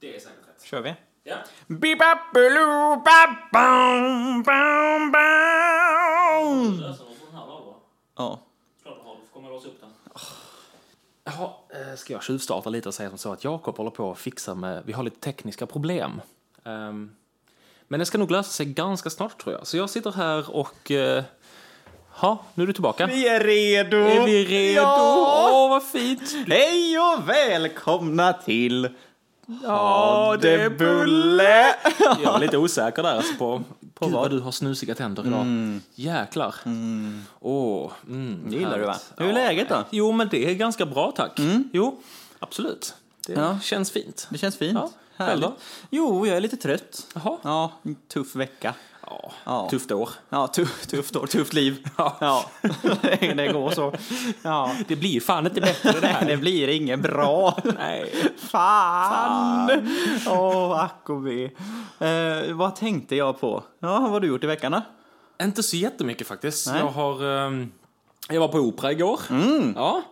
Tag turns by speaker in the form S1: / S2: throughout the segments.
S1: Det är säkert rätt.
S2: Kör vi?
S1: Ja.
S2: Bibabulu, babam, bam,
S1: Du
S2: bam.
S1: löser på den här då, va?
S2: Ja.
S1: Klart du har. Du får komma och låsa upp den.
S3: Jaha, eh, ska jag tjuvstarta lite och säga som så att Jakob håller på att fixa med, vi har lite tekniska problem. Ehm, men det ska nog lösa sig ganska snart tror jag. Så jag sitter här och, eh, ha, nu är du tillbaka.
S2: Vi är redo!
S3: Är vi redo? Åh,
S2: Ja!
S3: vad fint!
S2: Hej och välkomna till
S3: Ja, det är
S2: Bulle!
S3: Jag var lite osäker där alltså på, på Gud, vad du har snusiga tänder idag. Jäklar. Åh, mm.
S2: Mm. Det gillar du va?
S3: härligt.
S2: Hur är
S3: Ja.
S2: läget då?
S3: Jo, men det är ganska bra tack. Jo, absolut. Det
S2: Mm. Ja.
S3: känns fint.
S2: Det känns fint.
S3: Ja,
S2: Härligt.
S3: själv då?
S2: Jo, jag är lite trött.
S3: Jaha.
S2: Ja, en tuff vecka.
S3: Ja.
S2: Ja.
S3: Tufft år.
S2: Ja, tuff, tufft år, tufft liv.
S3: Ja.
S2: det det går så. Ja.
S3: Det blir ju fan inte bättre det
S2: Nej,
S3: här.
S2: det blir inget bra.
S3: Nej.
S2: Fan! Åh, ack och ve. Eh, vad tänkte jag på? Ja, vad har du gjort i veckan då?
S3: Inte så jättemycket faktiskt.
S2: Nej. Mm.
S3: Jag har... ehm, jag var på opera igår. Ja,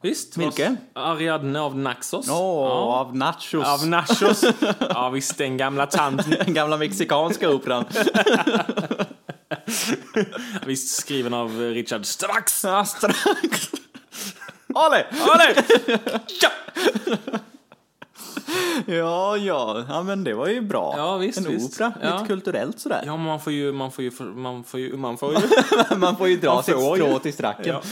S3: visst.
S2: Vilken?
S3: Ariadne av Naxos.
S2: Åh, av nachos.
S3: Av Naxos. ja, visst. Den gamla tanten.
S2: Den gamla mexikanska operan.
S3: Visst skriven av eh, Richard Strax.
S2: Ja, strax. Ale!
S3: Allez! Ja!
S2: Ja, ja, ja, men det var ju bra.
S3: Ja, visst,
S2: en
S3: visst.
S2: opera,
S3: Ja.
S2: lite kulturellt sådär.
S3: ja, men man får ju... Man får ju... Man får ju... Man får ju.
S2: Man får ju dra
S3: Man
S2: sitt
S3: får ju.
S2: strå till stracken.
S3: ja.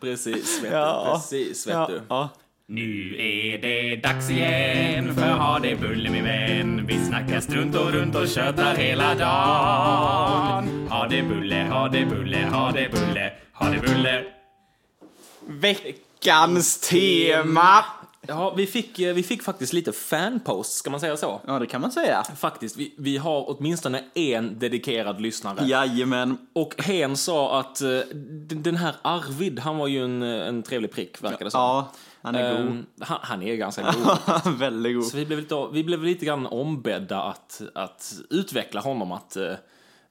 S3: precis, vet
S2: Ja.
S3: du. Precis, vet
S2: Ja,
S3: du.
S2: ja.
S4: Nu är det dags igen för ha det bulle min vän. Vi snackar strunt och runt och tjötar hela dagen. Ha det bulle, ha det bulle, ha det bulle, ha det bulle.
S2: Veckans tema!
S3: Ja, vi fick, eh, vi fick faktiskt lite fanposts, ska man säga så?
S2: Ja, det kan man säga.
S3: Faktiskt, vi, vi har åtminstone en dedikerad lyssnare.
S2: Jajamän.
S3: Och hen sa att eh, d- den här Arvid, han var ju en, eh, en trevlig prick, verkar det som.
S2: Ja, han är god.
S3: Ehm, han, han är ganska god.
S2: Väldigt god.
S3: Så vi blev lite, vi blev lite grann ombedda att, att utveckla honom, att eh,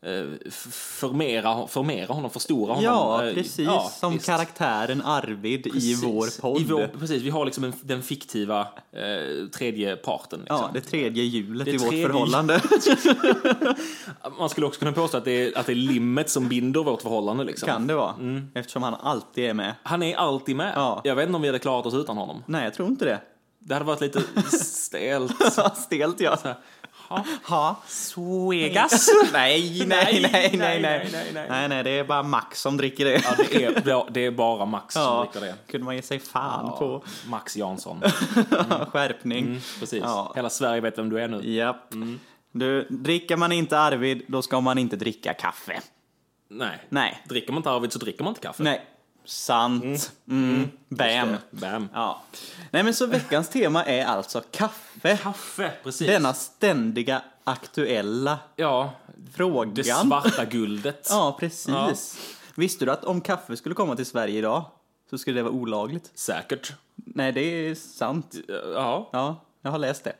S3: eh, f- förmera, förmera honom, förstora honom.
S2: Ja,
S3: Eh,
S2: precis.
S3: ja,
S2: som
S3: visst.
S2: karaktären Arvid
S3: Precis.
S2: i vår podd.
S3: I vår, precis, vi har liksom en, den fiktiva eh, tredje parten. Liksom.
S2: Ja, det tredje hjulet
S3: Det
S2: i vårt
S3: tredje
S2: förhållande.
S3: Man skulle också kunna påstå att det är, att det är limmet som binder vårt förhållande. Liksom.
S2: kan det vara. Eftersom han alltid är med.
S3: Han är alltid med.
S2: Ja.
S3: Jag vet inte om vi hade klarat oss utan honom.
S2: Nej, jag tror inte det.
S3: Det hade varit lite stelt.
S2: Stelt ja.
S3: Ha.
S2: Ha.
S3: Suegas.
S2: Nej, nej, nej, nej,
S3: nej,
S2: nej.
S3: nej, nej.
S2: Nej, nej, det är bara Max som dricker det.
S3: Ja, det, är, ja, det är bara Max
S2: Ja,
S3: som dricker det.
S2: kunde man ge sig fan
S3: Ja,
S2: på.
S3: Max Jansson.
S2: Skärpning.
S3: Mm, precis.
S2: Ja.
S3: Hela Sverige vet vem du är nu.
S2: Japp. Du, dricker man inte Arvid, då ska man inte dricka kaffe.
S3: Nej.
S2: Nej.
S3: Dricker man inte Arvid så dricker man inte kaffe.
S2: Nej. Sant. Mm. Bam.
S3: Bam.
S2: Ja. Nej men så veckans tema är alltså kaffe.
S3: Kaffe, precis.
S2: Denna ständiga aktuella
S3: Ja,
S2: frågan.
S3: det svarta guldet.
S2: Ja, precis. Visste du att om kaffe skulle komma till Sverige idag så skulle det vara olagligt?
S3: Säkert.
S2: Nej, det är sant.
S3: Ja.
S2: Ja, jag har läst det.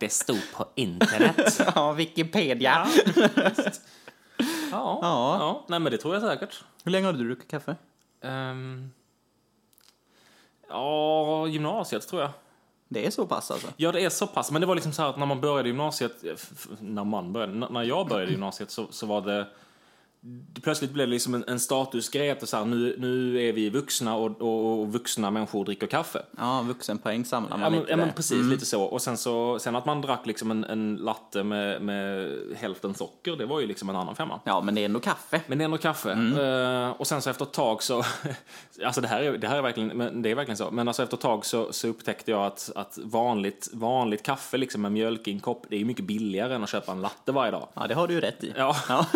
S3: Det stod på internet.
S2: Ja, Wikipedia.
S3: Ja.
S2: Ja.
S3: ja. Nej, men det tror jag säkert.
S2: Hur länge har du druckit kaffe?
S3: Ehm. Ja, gymnasiet tror jag.
S2: Det är så pass alltså?
S3: Ja, det är så pass. Men det var liksom så här att när man började gymnasiet, eh, f- f- när man började, n- när jag började gymnasiet så, så var det, det- plötsligt blev det liksom en, en statusgrej att det så här, nu, nu är vi vuxna och, och, och vuxna människor dricker kaffe.
S2: Ja, vuxenpoäng samlar
S3: Ja
S2: man
S3: men,
S2: lite Mm.
S3: ja men
S2: där.
S3: precis, lite så. Och sen så, sen att man drack liksom en, en latte med, med hälften socker, det var ju liksom en annan femma.
S2: Ja, men det är ändå kaffe.
S3: Men det är ändå kaffe.
S2: Mm.
S3: Eh, och sen så efter ett tag så, alltså det här är, det här är verkligen, men det är verkligen så, men alltså efter ett tag så, så upptäckte jag att, att vanligt, vanligt kaffe liksom med mjölkinkopp, det är ju mycket billigare än att köpa en latte varje dag.
S2: Ja, det har du ju rätt i.
S3: Ja.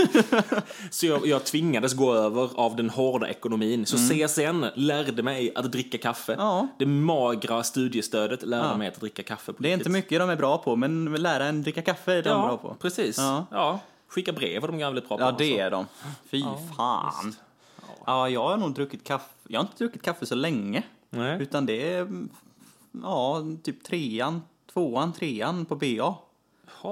S3: så jag, jag tvingades gå över av den hårda ekonomin. Så CSN lärde mig att dricka kaffe.
S2: Mm. Ja.
S3: Det magra studiestödet lärde mig att dricka kaffe på
S2: Det är inte mycket de är bra på, men lära en dricka kaffe är de
S3: ja,
S2: bra på.
S3: precis.
S2: Ja.
S3: Ja. Skicka brev var de jävligt bra på.
S2: Ja,
S3: också.
S2: det är de. Fy fan. Ja, jag har nog druckit kaffe. Jag har inte druckit kaffe så länge.
S3: Nej.
S2: Utan det är, mm, ja, typ trean, tvåan, trean på BA.
S3: Jaha,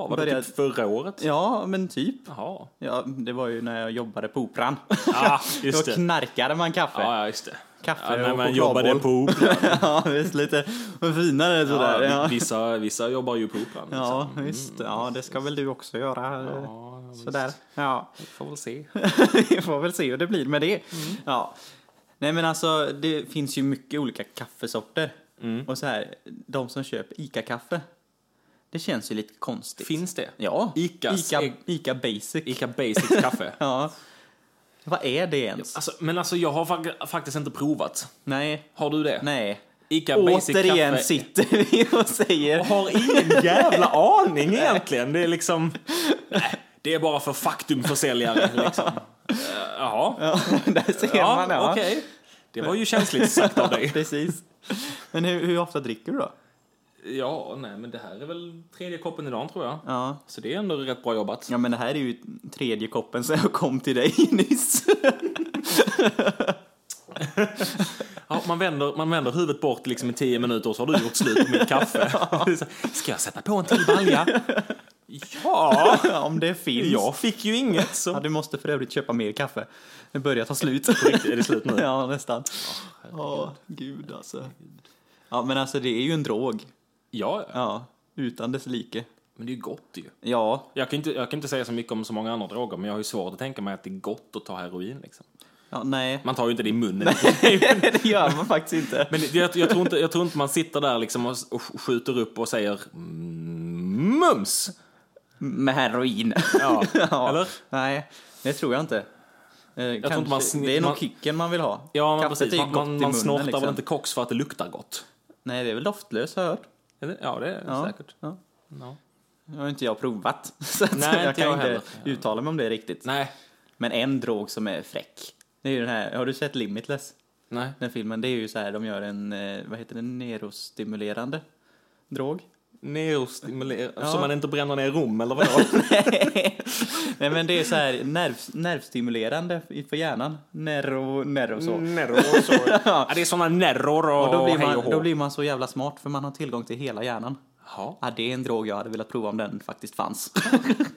S3: var det
S2: Började-
S3: typ förra året?
S2: Ja, men typ.
S3: Jaha.
S2: Ja, det var ju när jag jobbade på Operan.
S3: Ja,
S2: Då
S3: just det.
S2: knarkade man kaffe.
S3: Ja, ja, just det.
S2: kaffe
S3: Ja, när
S2: och
S3: man jobbade
S2: chokladboll.
S3: på Operan.
S2: ja, visst. Lite finare sådär.
S3: Ja,
S2: Ja,
S3: vissa, vissa jobbar ju på Operan.
S2: ja
S3: liksom.
S2: visst. Ja, det ska väl du också göra. eh,
S3: Ja, ja, visst.
S2: sådär. Ja.
S3: Vi får väl se.
S2: Vi får väl se hur det blir med det.
S3: Mm.
S2: Ja. Nej men alltså det finns ju mycket olika kaffesorter.
S3: Mm.
S2: Och så här, de som köper ICA-kaffe. Det känns ju lite konstigt.
S3: Finns det?
S2: Ja.
S3: Icas
S2: Ica,
S3: eg-
S2: Ica Basic.
S3: Ica Basic kaffe.
S2: Ja. Vad är det ens?
S3: Alltså, men alltså jag har fak- faktiskt inte provat.
S2: Nej.
S3: Har du det?
S2: Nej.
S3: Ica Basic
S2: Återigen
S3: kaffe.
S2: sitter vi och säger
S3: Jag har ingen jävla aning egentligen. Det är liksom... Nej, det är bara för faktumförsäljare liksom. Eh, Jaha.
S2: Ja, där ser
S3: Ja,
S2: man det. va?
S3: okej. Det var ju känsligt sagt av dig.
S2: Precis. Men hur, hur ofta dricker du då?
S3: Ja, nej, men det här är väl tredje koppen i dagen tror jag.
S2: Ja.
S3: Så det är ändå rätt bra jobbat.
S2: Ja men det här är ju tredje koppen sen jag kom till dig nyss.
S3: Ja, man, vänder, man vänder huvudet bort liksom i tio minuter och så har du gjort slut på mitt kaffe. Ska jag sätta på en till balja? Ja,
S2: Ja, Om det finns.
S3: jag fick ju inget så...
S2: Ja, du måste för övrigt köpa mer kaffe. Det börjar ta slut.
S3: Är det slut nu?
S2: ja, nästan. Åh, gud alltså. Ja, men alltså det är ju en drog.
S3: Ja, ja.
S2: Ja, utan dess like.
S3: men det är ju gott ju.
S2: Ja,
S3: Jag kan, inte, jag kan inte säga så mycket om så många andra droger, men jag har ju svårt att tänka mig att det är gott att ta heroin. Liksom.
S2: ja nej.
S3: Man tar ju inte det i munnen.
S2: det gör man faktiskt inte.
S3: Men det- jag, jag, tror inte, jag tror inte man sitter där liksom och, s- och sk- skjuter upp och säger "Mm, mums.
S2: Med heroin.
S3: Ja.
S2: ja.
S3: Eller?
S2: Nej, det tror jag inte. Eh,
S3: tror
S2: kanske-
S3: inte man snitt-
S2: det är
S3: man-
S2: nog kicken man vill ha.
S3: Ja, men
S2: Kaffet är
S3: precis.
S2: ju
S3: Man,
S2: gott i
S3: man, man
S2: munnen,
S3: snortar
S2: liksom.
S3: väl inte koks för att det luktar gott?
S2: Nej, det är väl doftlös har jag hört.
S3: Är det- Ja, det är
S2: Ja.
S3: säkert.
S2: Ja.
S3: Ja.
S2: Nu har inte jag provat, så att
S3: Nej,
S2: jag
S3: inte
S2: kan
S3: jag
S2: inte
S3: heller.
S2: uttala mig om det riktigt.
S3: Nej,
S2: Men en drog som är fräck, det är ju den här, har du sett Limitless?
S3: nej.
S2: Den filmen, det är ju så här, de gör en, eh, vad heter det, neurostimulerande drog?
S3: Neurostimulerande.
S2: Ja.
S3: Så man inte bränner ner rum eller vadå?
S2: Nej men det är så här nerv, nervstimulerande i- för hjärnan, neuro, neuro så.
S3: Nerror och så. ja, det är såna nerror och,
S2: Och då blir,
S3: hej och
S2: man,
S3: hå.
S2: då blir man så jävla smart för man har tillgång till hela hjärnan.
S3: Ja,
S2: Ja, det är en drog jag hade velat prova om den faktiskt fanns.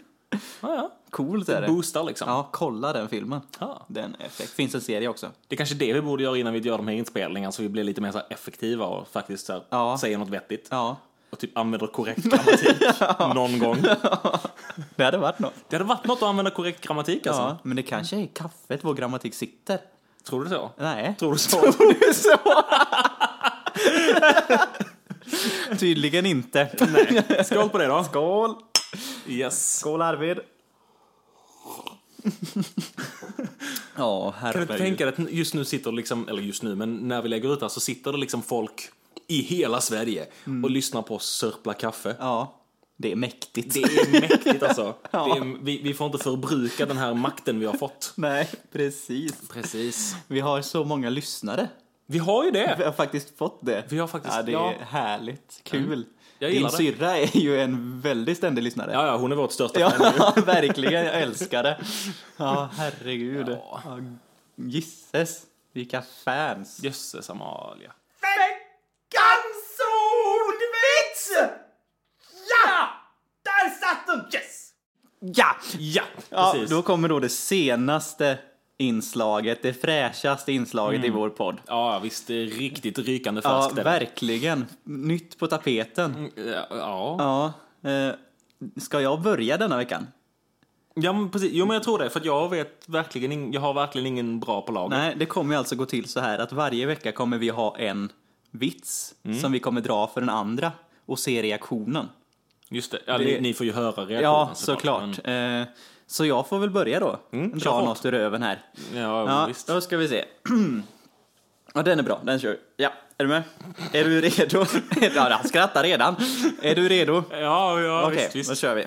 S3: ja.
S2: Coolt är
S3: ja.
S2: det.
S3: Boostar liksom.
S2: Ja, kolla den filmen.
S3: Ja.
S2: Den är fräck. Finns en serie också.
S3: Det är kanske är det vi borde göra innan vi gör de här inspelningarna så vi blir lite mer så här effektiva och faktiskt så här,
S2: Ja.
S3: säger något vettigt.
S2: Ja,
S3: Och typ använder korrekt grammatik någon gång.
S2: det hade varit något.
S3: Det hade varit något att använda korrekt grammatik alltså.
S2: Ja, men det kanske är i kaffet vår grammatik sitter.
S3: Tror du så?
S2: Nej.
S3: Tror du så?
S2: du så? Tydligen inte.
S3: Nej. Skål på det då.
S2: Skål!
S3: Yes.
S2: Skål Arvid! Ja,
S3: Kan du inte
S2: herregud.
S3: tänka dig att just nu sitter det liksom, eller just nu, men när vi lägger ut det här så sitter det liksom folk i hela Sverige och lyssnar på oss sörpla kaffe.
S2: Mm. Ja, det är mäktigt.
S3: Det är mäktigt alltså. Det är, vi, vi får inte förbruka den här makten vi har fått.
S2: Nej, precis.
S3: Precis.
S2: Vi har så många lyssnare.
S3: Vi har ju
S2: Vi
S3: det.
S2: har faktiskt fått det.
S3: Vi har faktiskt-
S2: ja, det är
S3: ja.
S2: härligt. Kul.
S3: Jag
S2: Din
S3: gillar det.
S2: syrra är ju en väldigt ständig lyssnare.
S3: Ja, ja, hon är vårt största fan.
S2: Ja, verkligen. Jag älskar det. Ja, herregud.
S3: Ja.
S2: Ja. Gisses, vilka fans.
S3: Jösses Amalia.
S4: Veckans ordvits! Ja! Där satt den! Yes!
S2: Ja!
S3: Ja,
S2: ja
S3: precis.
S2: då kommer då det senaste inslaget, det fräschaste inslaget i vår podd.
S3: Ja, visst. Det är riktigt rykande
S2: Ja,
S3: färskt. är Mm. det.
S2: verkligen. Nytt på tapeten.
S3: Ja, ja.
S2: Ja. Eh, ska jag börja denna veckan?
S3: ja men precis. Jo, men jag tror det. För att jag vet verkligen ing- jag har verkligen ingen bra på lager.
S2: Nej, det kommer ju alltså gå till så här att varje vecka kommer vi ha en vits
S3: Mm.
S2: som vi kommer dra för den andra och se reaktionen.
S3: Just det. Ja,
S2: Det-
S3: Ni, ni får ju höra reaktionen
S2: Ja, såklart. Eh, så jag får väl börja då.
S3: Mm, kör
S2: Dra
S3: hårt.
S2: något ur röven här.
S3: Men, ja,
S2: Ja,
S3: visst.
S2: då ska vi se. Ja, den är bra. Den kör vi. Ja, är du med? Är du redo? ja, han skrattar redan. Är du redo?
S3: Ja, ja
S2: Okej,
S3: visst, Mm.
S2: då
S3: visst.
S2: kör vi.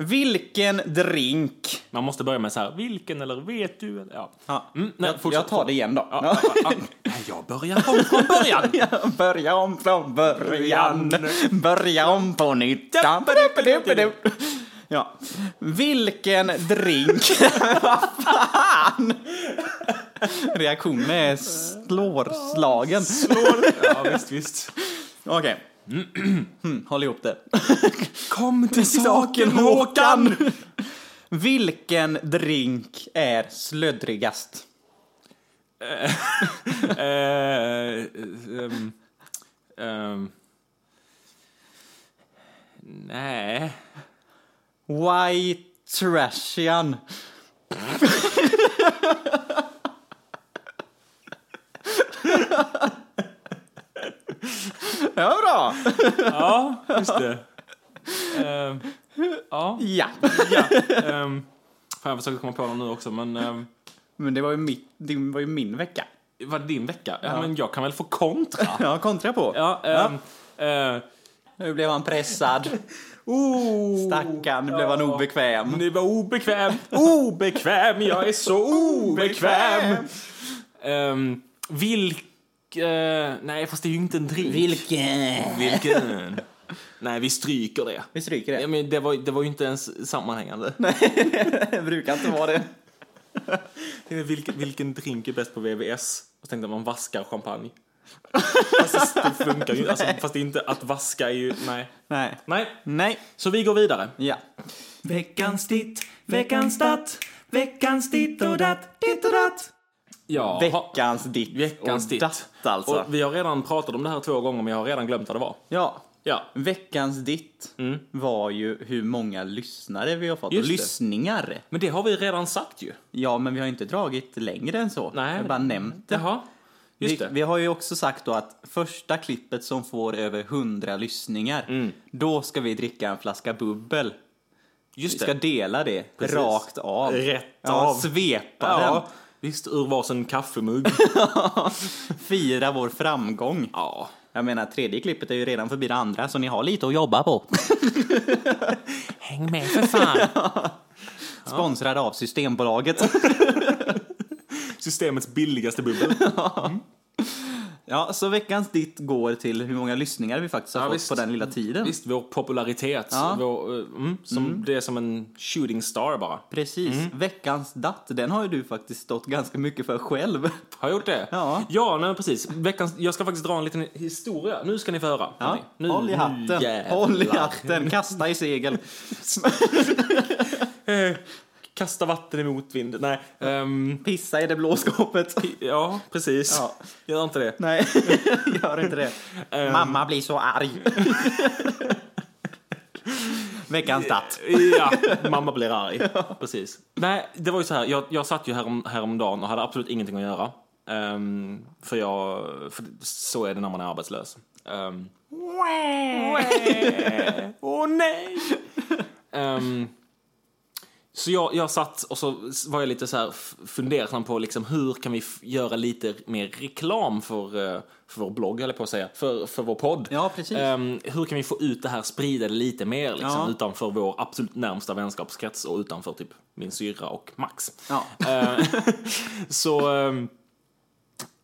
S2: Vilken drink?
S3: Man måste börja med så här, vilken eller vet du? Eller, ja.
S2: Ja,
S3: Mm, nej,
S2: jag, jag
S3: fortsätt.
S2: tar det igen då.
S3: Ja, ja, ja, ja. Jag börjar om från början.
S2: Ja, Börja om från början. Börja om på nytt. Ja. Vilken drink? Vad fan? Reaktionen är slårslagen.
S3: Ja, visst, visst.
S2: Okej. Mm, Håll ihop det.
S3: Kom till
S2: Saken Håkan! Vilken drink är slöddrigast?
S3: Eh, ehm, ehm. Nej.
S2: Why Trashian? Ja, bra!
S3: Ja, just det. Ehm, ja,
S2: Ja.
S3: ja. ehm. fan, jag försöker komma på dem nu också, men ehm,
S2: Men det var ju, mitt, det var ju min vecka.
S3: var det din vecka? Ja, men jag kan väl få kontra?
S2: Ja, kontra på.
S3: Ja, ehm, eh,
S2: Nu blev han pressad. Oh, Stackarn, nu blev han obekväm.
S3: det var obekväm, obekväm, jag är så obekväm. Um, vilk... eh, nej, fast det är ju inte en drink.
S2: Vilken?
S3: Vilken? nej, vi stryker det.
S2: Vi stryker
S3: Ja,
S2: det.
S3: men det, var, det var ju inte ens sammanhängande.
S2: Det brukar inte vara det.
S3: Eh, Vilken, vilken drink är bäst på VVS? Och tänkte att man vaskar champagne. Fast det funkar ju alltså, Fast det är inte att vaska är ju, nej.
S2: Nej.
S3: Nej,
S2: Nej.
S3: så vi går vidare.
S2: Ja.
S4: Veckans ditt, veckans datt, veckans ditt och datt, ditt och datt.
S3: Ja, ha-
S2: Veckans ditt
S3: veckans
S2: och
S3: ditt.
S2: datt alltså.
S3: Och vi har redan pratat om det här två gånger men jag har redan glömt vad det var.
S2: Ja.
S3: Ja,
S2: Veckans ditt var ju hur många lyssnare vi har fått.
S3: Mm. Just
S2: och
S3: det.
S2: lyssningar.
S3: men det har vi redan sagt ju.
S2: Ja, men vi har inte dragit längre än så.
S3: Nej.
S2: Jag har bara nämnt det.
S3: Jaha, just
S2: vi,
S3: det.
S2: vi har ju också sagt då att första klippet som får över 100 lyssningar,
S3: Mm.
S2: då ska vi dricka en flaska bubbel. Vi
S3: Just
S2: ska
S3: det.
S2: dela det rakt av.
S3: Rätt
S2: ja,
S3: av.
S2: Svepa
S3: Ja, visst, ur varsin kaffemugg.
S2: den. Fira vår framgång.
S3: ja.
S2: Jag menar, tredje klippet är ju redan förbi det andra, så ni har lite att jobba på.
S3: Häng med för fan.
S2: Sponsrad av Systembolaget.
S3: Systemets billigaste bubbel.
S2: Ja, så veckans ditt går till hur många lyssningar vi faktiskt har
S3: Ja,
S2: fått
S3: visst.
S2: på den lilla tiden.
S3: Visst, vår popularitet.
S2: Ja.
S3: Vår, eh, mm, som, Det är som en shooting star bara.
S2: Precis. Veckans datt, den har ju du faktiskt stått ganska mycket för själv.
S3: Har jag gjort det?
S2: Ja.
S3: Ja, nej, men precis. Veckans, jag ska faktiskt dra en liten historia. Nu ska ni få höra.
S2: Ja.
S3: hörni. Nu,
S2: Håll i hatten,
S3: nu jävlar.
S2: håll i hatten, kasta i segel.
S3: Eh, Kasta vatten i motvind. Nej. ehm,
S2: Pissa i det blå skåpet.
S3: ja, precis.
S2: Ja.
S3: Gör inte det.
S2: Nej, Ehm. gör inte det. Mamma blir så arg. Veckans datt.
S3: Ja, mamma blir arg. Precis. Nej, det var ju så här. Jag, jag satt ju härom, häromdagen och hade absolut ingenting att göra. Ehm, för jag... För så är det när man är arbetslös. Ehm, Åh nej! Ehm, så jag, jag satt och så var jag lite så här f- fundersam på liksom hur kan vi f- göra lite mer reklam för, eh, för vår blogg, eller på att säga, för, för vår podd.
S2: Ja, precis.
S3: Ehm, hur kan vi få ut det här, sprida det lite mer liksom,
S2: Ja.
S3: utanför vår absolut närmsta vänskapskrets och utanför typ min syrra och Max.
S2: Ja.
S3: Eh, så, ehm,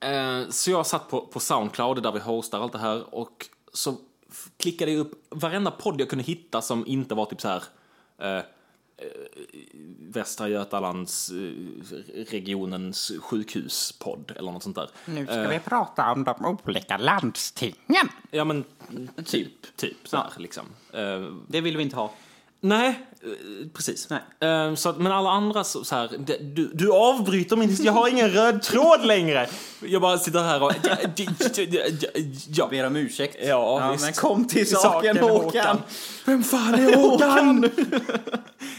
S3: eh, så jag satt på, på Soundcloud där vi hostar allt det här och så f- klickade jag upp varenda podd jag kunde hitta som inte var typ så här eh, eh, Västra Götalands eh, regionens sjukhuspodd eller något sånt där.
S2: Nu ska vi prata om de olika landstingen.
S3: Ja men typ, typ så här liksom. Eh,
S2: Det vill vi inte ha.
S3: Nej, eh, precis.
S2: Nej.
S3: Eh, Så att, men alla andra så, så här, det- du, du avbryter min Jag har ingen röd tråd längre! Jag bara sitter här och... Ja, d- d- d- d- ja.
S2: Ber om ursäkt.
S3: Ja, visst.
S2: men kom till saken, Håkan.
S3: Vem fan är Håkan?
S2: Håkan!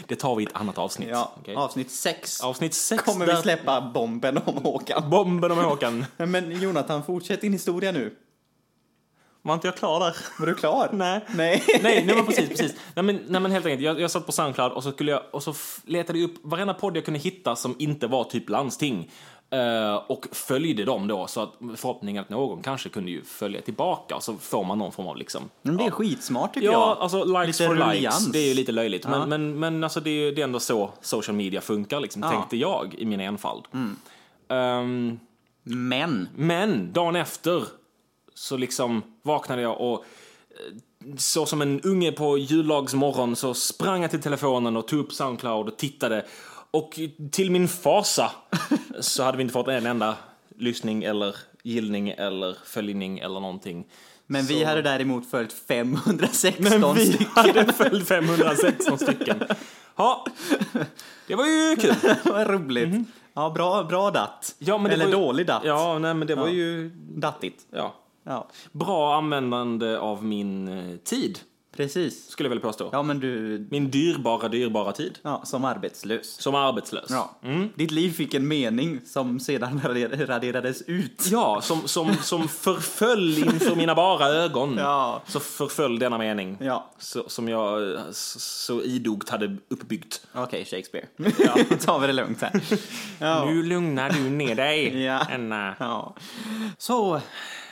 S3: Det tar vi i ett annat avsnitt.
S2: Ja,
S3: okej?
S2: avsnitt 6
S3: Avsnitt sex
S2: kommer
S3: där
S2: vi släppa bomben om Håkan.
S3: bomben om Håkan.
S2: Nej, Men Jonathan, fortsätt din historia nu.
S3: Var inte jag klar där?
S2: Var du klar?
S3: Nej.
S2: Nej.
S3: nej, nej men precis, precis. Nej men, nej men helt enkelt, jag, jag satt på Soundcloud och så, skulle jag, och så f- letade jag upp varenda podd jag kunde hitta som inte var typ landsting. Eh, och följde dem då, så att förhoppningen att någon kanske kunde ju följa tillbaka och så får man någon form av liksom...
S2: Men det är skitsmart tycker
S3: Ja,
S2: jag.
S3: alltså likes
S2: Lite
S3: for likes,
S2: ruljans.
S3: det är ju lite löjligt.
S2: Ja.
S3: Men, men, men alltså det är ju det är ändå så social media funkar liksom,
S2: Ja. Mm.
S3: tänkte jag i min enfald. Ehm,
S2: Men.
S3: men dagen efter så liksom vaknade jag och eh, så som en unge på jullagsmorgon så sprang jag till telefonen och tog upp Soundcloud och tittade. Och till min fasa så hade vi inte fått en enda lyssning eller gillning eller följning eller någonting.
S2: Men vi
S3: Så-
S2: hade däremot följt 516
S3: Men vi
S2: stycken.
S3: hade följt 516 stycken. Ja, det var ju kul.
S2: Vad roligt. Ja, bra, bra datt.
S3: Mhm. Ja, men det
S2: Eller
S3: var ju-
S2: dålig datt.
S3: Ja, nej men det var
S2: Ja.
S3: ju...
S2: Dattigt.
S3: Ja.
S2: Ja,
S3: Bra användande av min eh, tid,
S2: precis.
S3: skulle jag vilja påstå.
S2: Ja, men du...
S3: Min dyrbara, dyrbara tid.
S2: Ja, som arbetslös.
S3: Som arbetslös.
S2: Ja.
S3: Mm.
S2: Ditt liv fick en mening som sedan rader- raderades ut.
S3: Ja, som, som, som förföll inför mina bara ögon.
S2: Ja.
S3: Så förföll denna mening.
S2: Ja,
S3: Så, som jag eh, så, så idogt hade uppbyggt.
S2: okej Shakespeare. Ja. tar vi det lugnt här. Ja.
S3: Nu lugnar du ner dig,
S2: Ja.
S3: Anna.
S2: Ja. Så,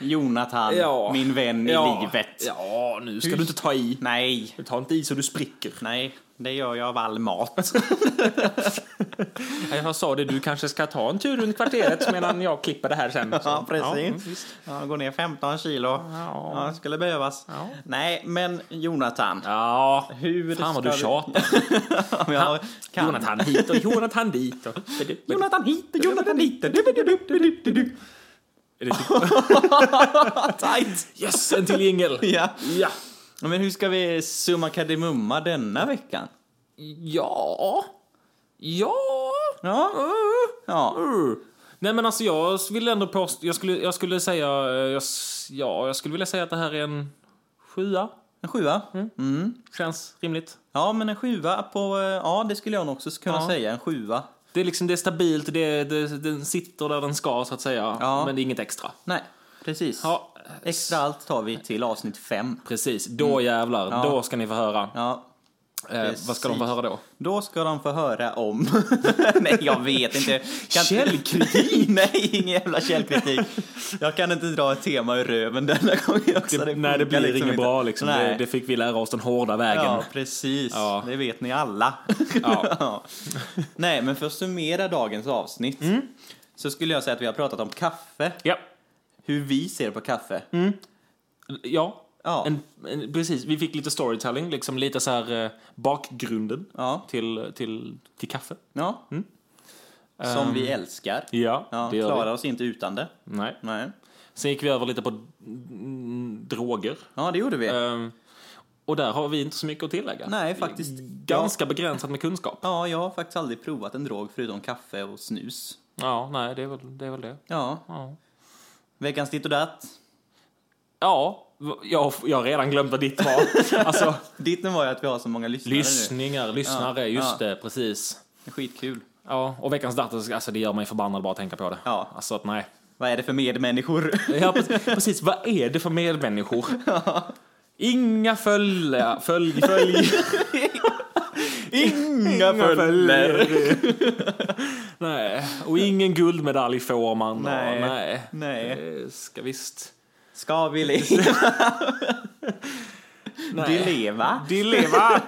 S2: Jonathan,
S3: Ja.
S2: min vän
S3: Ja.
S2: i livet.
S3: Ja, nu ska du inte ta i.
S2: Nej,
S3: Ta inte i så du spricker.
S2: nej, det gör jag av all mat.
S3: Jag sa det, du kanske ska ta en tur runt kvarteret medan jag klipper det här sen. Så.
S2: Ja,
S3: mm,
S2: precis.
S3: visst.
S2: Ja, går ner 15 kilo. Ja, det skulle behövas.
S3: Ja.
S2: Nej, men Jonathan.
S3: Ja,
S2: Hur
S3: fan vad du
S2: ska
S3: tjatar.
S2: Om jag kan.
S3: Jonathan hit och Jonathan dit. Och...
S2: Jonathan hit, Jonathan dit. Du, du, du, du, du, du, du.
S3: Är det typ-
S2: Tajt!
S3: Yes, en till jingel!
S2: Ja.
S3: Ja.
S2: Men hur ska vi summa kardemumma denna veckan?
S3: Ja. Ja.
S2: Ja. Ja.
S3: Uh. Nej men alltså jag vill ändå påstå, jag skulle, jag skulle säga, eh, jag, s- ja, jag skulle vilja säga att det här är en sjua.
S2: En sjua.
S3: Känns rimligt.
S2: Ja, men en sjua på... eh, Ja, det skulle jag nog också kunna
S3: Ja.
S2: säga. En sjua.
S3: Det är liksom, det är stabilt, det, det, den sitter där den ska så att säga.
S2: Ja.
S3: Men det är inget extra.
S2: Nej, precis.
S3: Ja,
S2: Extra allt tar vi till avsnitt fem.
S3: precis. Då jävlar,
S2: Mm. Ja.
S3: då ska ni få höra.
S2: Ja,
S3: eh, vad ska de få höra då?
S2: Då ska de få höra om... Nej, jag vet inte. Kan...
S3: Källkritik?
S2: Nej, ingen jävla källkritik. Jag kan inte dra ett tema ur röven denna gången också.
S3: Det, nej, det
S2: funkar
S3: blir inget
S2: inte.
S3: bra liksom.
S2: Nej.
S3: Det, det fick vi lära oss den hårda vägen.
S2: Ja, precis.
S3: Ja.
S2: Det vet ni alla.
S3: Ja.
S2: Ja. Nej, men för att summera dagens avsnitt
S3: Mm.
S2: så skulle jag säga att vi har pratat om kaffe,
S3: Ja.
S2: hur vi ser på kaffe.
S3: ja.
S2: Ja.
S3: Mm. En, en, precis, vi fick lite storytelling, liksom lite så här eh, bakgrunden
S2: Ja.
S3: till, till, till kaffe.
S2: Ja. Som vi älskar.
S3: Ja,
S2: Ja,
S3: Mm. Ehm, det gör
S2: klarar
S3: vi.
S2: oss inte utan det.
S3: Nej.
S2: Nej.
S3: Sen gick vi över lite på mm, droger.
S2: Ja, det gjorde vi.
S3: Ehm, och där har vi inte så mycket att tillägga.
S2: Nej, faktiskt.
S3: Ganska begränsat med kunskap.
S2: Ja, jag har faktiskt aldrig provat en drog förutom kaffe och snus.
S3: Ja, nej, det är väl det. Är väl det.
S2: Ja.
S3: Ja.
S2: Veckans ditt och datt.
S3: Ja, v- jag, jag har redan glömt vad ditt var. alltså,
S2: Ditten var ju att vi har så många lyssnare nu.
S3: lyssningar, lyssnare,
S2: Ja,
S3: just
S2: ja.
S3: det, precis.
S2: Det är Skitkul.
S3: Ja, och veckans dator, alltså det gör mig förbannad bara att tänka på det.
S2: Ja.
S3: Alltså att nej.
S2: Vad är det för medmänniskor?
S3: Ja, pre- precis, vad är det för medmänniskor? Inga följ... Följ, följ.
S2: Inga följder.
S3: nej, och ingen guldmedalj får man.
S2: Nej.
S3: Och, nej.
S2: Nej.
S3: Det Ska visst...
S2: Ska vi leva?
S3: Nej.
S2: De leva?
S3: De leva!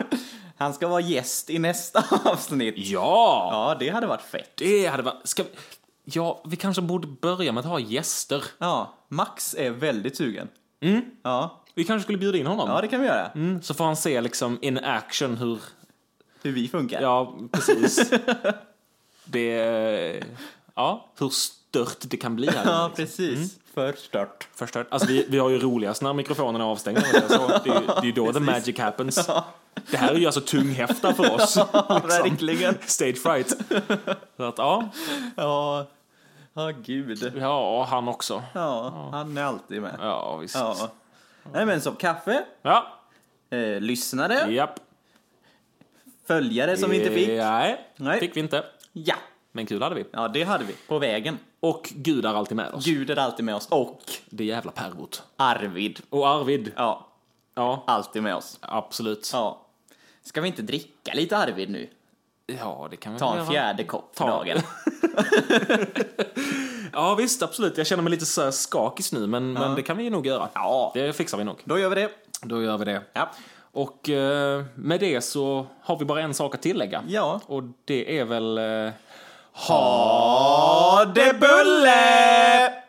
S2: Han ska vara gäst i nästa avsnitt.
S3: ja!
S2: Ja, det hade varit fett.
S3: Det hade varit... Ska vi... Ja, vi kanske borde börja med att ha gäster.
S2: Ja, Max är väldigt sugen.
S3: Mm.
S2: Ja,
S3: Vi kanske skulle bjuda in honom.
S2: ja det kan vi göra.
S3: Mm, så får han se liksom in action hur...
S2: Hur vi funkar.
S3: Ja, precis. det... Ja, hur stört det kan bli här.
S2: Ja, precis.
S3: Mm.
S2: Förstört.
S3: Förstört. Alltså vi, vi har ju roligast när mikrofonerna är avstängda. Så det, är ju, det är ju då the magic happens. Det här är ju alltså tunghäfta för oss. liksom.
S2: Verkligen.
S3: Stage fright. Så att ja,
S2: Ja, ja gud.
S3: ja han också.
S2: Ja, han är alltid med.
S3: Ja, visst.
S2: Ja. Nej men som kaffe,
S3: Ja,
S2: eh, lyssnare,
S3: japp. Eh,
S2: följare som vi inte fick.
S3: Nej,
S2: Nej.
S3: fick vi inte.
S2: Ja.
S3: Men kul hade vi.
S2: Ja, det hade vi. På vägen.
S3: Och Gud är alltid med oss.
S2: Gud är alltid med oss. Och
S3: Det är jävla pervot.
S2: Arvid.
S3: Och Arvid.
S2: Ja,
S3: Ja,
S2: alltid med oss.
S3: absolut.
S2: Ja. Ska vi inte dricka lite Arvid nu?
S3: Ja, det kan vi
S2: Ta
S3: göra.
S2: en fjärde kopp för
S3: Ta.
S2: dagen.
S3: Ja, visst, absolut. Jag känner mig lite så här skakis nu, men, men det kan vi ju nog göra.
S2: Ja.
S3: Det fixar vi nog.
S2: Då gör vi det.
S3: Då gör vi det.
S2: Ja.
S3: Och eh, med det så har vi bara en sak att tillägga.
S2: Ja.
S3: Och det är väl... Eh,
S2: Ha det bulle!